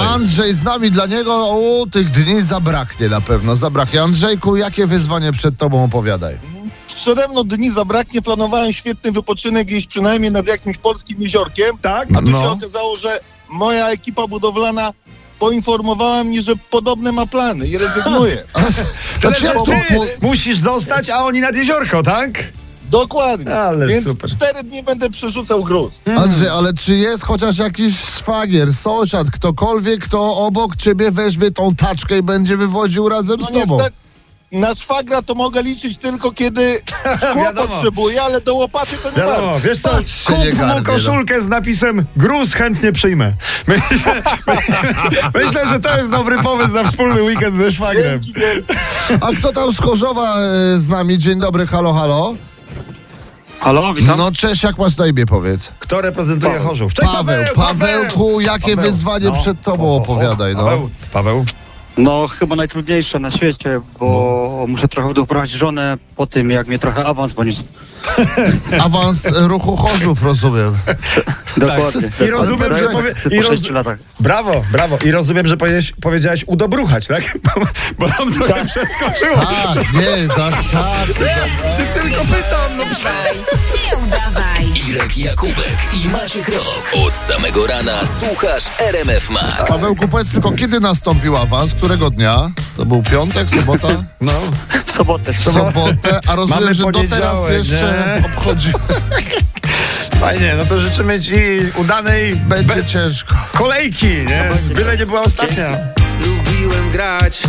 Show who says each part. Speaker 1: Andrzej z nami, dla niego o, tych dni zabraknie na pewno, zabraknie. Andrzejku, jakie wyzwanie przed tobą opowiadaj?
Speaker 2: Przede mną dni zabraknie, planowałem świetny wypoczynek gdzieś przynajmniej nad jakimś polskim jeziorkiem,
Speaker 3: Tak?
Speaker 2: a tu się
Speaker 1: No,
Speaker 2: okazało, że moja ekipa budowlana poinformowała mnie, że podobne ma plany i rezygnuje.
Speaker 1: znaczy, ja
Speaker 3: Tyle, że
Speaker 1: tu,
Speaker 3: ty
Speaker 1: po,
Speaker 3: musisz zostać, a oni nad jeziorko, tak?
Speaker 2: Dokładnie.
Speaker 3: Ale
Speaker 2: Więc
Speaker 3: super. No
Speaker 2: cztery dni będę przerzucał gruz.
Speaker 3: Hmm.
Speaker 1: Andrzej, ale czy jest chociaż jakiś szwagier, sąsiad, ktokolwiek, kto obok ciebie weźmie tą taczkę i będzie wywoził razem
Speaker 3: No
Speaker 1: z tobą?
Speaker 2: No niestety, na szwagra to mogę liczyć tylko kiedy szkło
Speaker 3: Wiadomo.
Speaker 2: potrzebuję, ale do łopaty to nie warto.
Speaker 3: Wiadomo, wiesz co,
Speaker 1: Tak. się nie
Speaker 3: kup
Speaker 1: garnie,
Speaker 3: mu
Speaker 1: no.
Speaker 3: koszulkę z napisem gruz chętnie przyjmę. Myślę, myślę, że to jest dobry pomysł na wspólny weekend ze szwagrem.
Speaker 2: Dzięki wielkie.
Speaker 1: A kto tam z Korzowa e, z nami? Dzień dobry, halo, halo.
Speaker 4: Halo, witam.
Speaker 1: No cześć, jak masz na imię, powiedz.
Speaker 3: Kto reprezentuje Chorzów? Cześć,
Speaker 1: Paweł, Pawełku, jakie
Speaker 3: Paweł.
Speaker 1: wyzwanie
Speaker 3: No.
Speaker 1: przed
Speaker 3: O,
Speaker 1: tobą
Speaker 3: o,
Speaker 1: opowiadaj, no.
Speaker 3: Paweł, Paweł.
Speaker 4: No chyba najtrudniejsze na świecie, bo muszę trochę doprowadzić żonę po tym, jak mnie trochę awans, bo nic.
Speaker 1: Awans e, ruchu Chorzów, rozumiem.
Speaker 4: Dokładnie. Tak,
Speaker 3: I rozumiem, że powie... i
Speaker 4: Po
Speaker 3: roz...
Speaker 4: sześciu latach.
Speaker 3: Brawo, brawo. I rozumiem, że powiedz, powiedziałeś udobruchać, tak? Bo, bo tam trochę przeskoczyło.
Speaker 1: Tak, nie, tak, tak.
Speaker 3: Czy tylko pytam, no prze...
Speaker 5: Dawaj, nie udawaj.
Speaker 6: Irek Jakubek i Maciek Rok. Od samego rana słuchasz RMF Max.
Speaker 1: Pawełku, powiedz tylko, kiedy nastąpił awans, którego dnia? To był piątek, sobota?
Speaker 3: No,
Speaker 4: W sobotę. W sobotę.
Speaker 1: Sobotę, a rozumiem,
Speaker 3: Mamy
Speaker 1: że do teraz
Speaker 3: poniedziałek,
Speaker 1: jeszcze
Speaker 3: nie?
Speaker 1: obchodzi.
Speaker 3: fajnie. No to życzymy ci udanej
Speaker 1: Będzie
Speaker 3: be-
Speaker 1: ciężko.
Speaker 3: kolejki, nie? Byle nie była ostatnia.
Speaker 7: Lubiłem grać